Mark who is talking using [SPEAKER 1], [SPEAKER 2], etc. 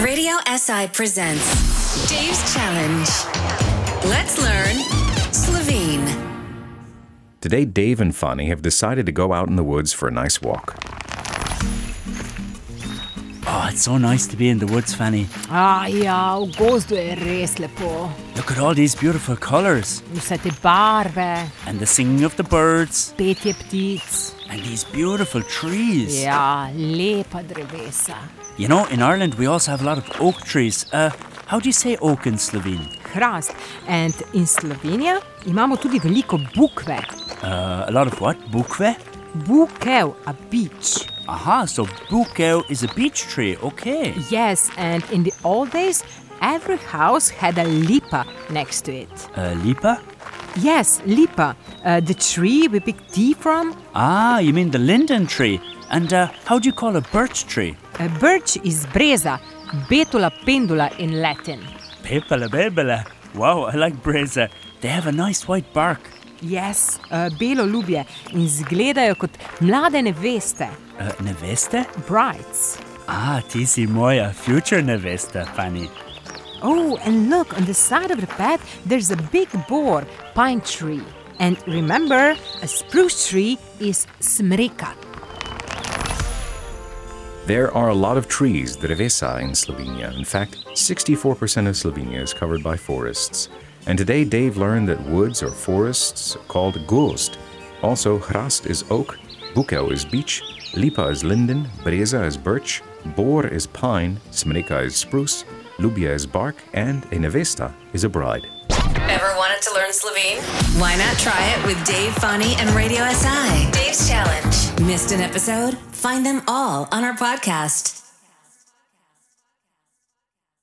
[SPEAKER 1] Radio SI presents Dave's Challenge. Let's learn Slovene.
[SPEAKER 2] Today, Dave and Fanny have decided to go out in the woods for a nice walk.
[SPEAKER 3] Oh, it's so nice to be in the woods, Fanny.
[SPEAKER 4] Ah, ja, v gozdu je res lepo.
[SPEAKER 3] Look at all these beautiful colors
[SPEAKER 4] Vse te barve,
[SPEAKER 3] and the singing of the birds
[SPEAKER 4] petje ptic,
[SPEAKER 3] and these beautiful trees.
[SPEAKER 4] ja, lepa drevesa.
[SPEAKER 3] You know, in Ireland we also have a lot of oak trees. Uh, how do you say oak in Slovene?
[SPEAKER 4] Hrast. And in Sloveniji imamo tudi veliko bukve,
[SPEAKER 3] Uh, a lot of what? Bukve?
[SPEAKER 4] bukev, a beach.
[SPEAKER 3] Aha, so bukev is a beech tree. Okay.
[SPEAKER 4] Yes, and in the old days, every house had a lipa next to it.
[SPEAKER 3] Uh, lipa?
[SPEAKER 4] Yes, lipa, uh, the tree we pick tea from.
[SPEAKER 3] Ah, you mean the linden tree. And uh, how do you call a birch tree?
[SPEAKER 4] A birch is breza, betula pendula in Latin.
[SPEAKER 3] Pepela bebela. Wow, I like breza. They have a nice white bark.
[SPEAKER 4] Yes, uh, belo ljubje in izgledajo kot mlade neveste,
[SPEAKER 3] Uh, neveste?
[SPEAKER 4] brides.
[SPEAKER 3] Ah, ti si moja future nevesta, Fanny.
[SPEAKER 4] Oh, and look on the side of the path, there's a big boar, pine tree. And remember, a spruce tree is smreka.
[SPEAKER 2] There are a lot of trees that have Esa in Slovenia. In fact, 64% of Slovenia is covered by forests. And today, Dave learned that woods or forests are called gozd. Also, hrast is oak, bukev is beech, lipa is linden, breza is birch, bor is pine, smreka is spruce, lubia is bark, and a nevesta is a bride.
[SPEAKER 5] Ever wanted to learn Slovene?
[SPEAKER 1] Why not try it with Dave, Fanny, and Radio SI?
[SPEAKER 5] Dave's Challenge.
[SPEAKER 1] Missed an episode? Find them all on our podcast.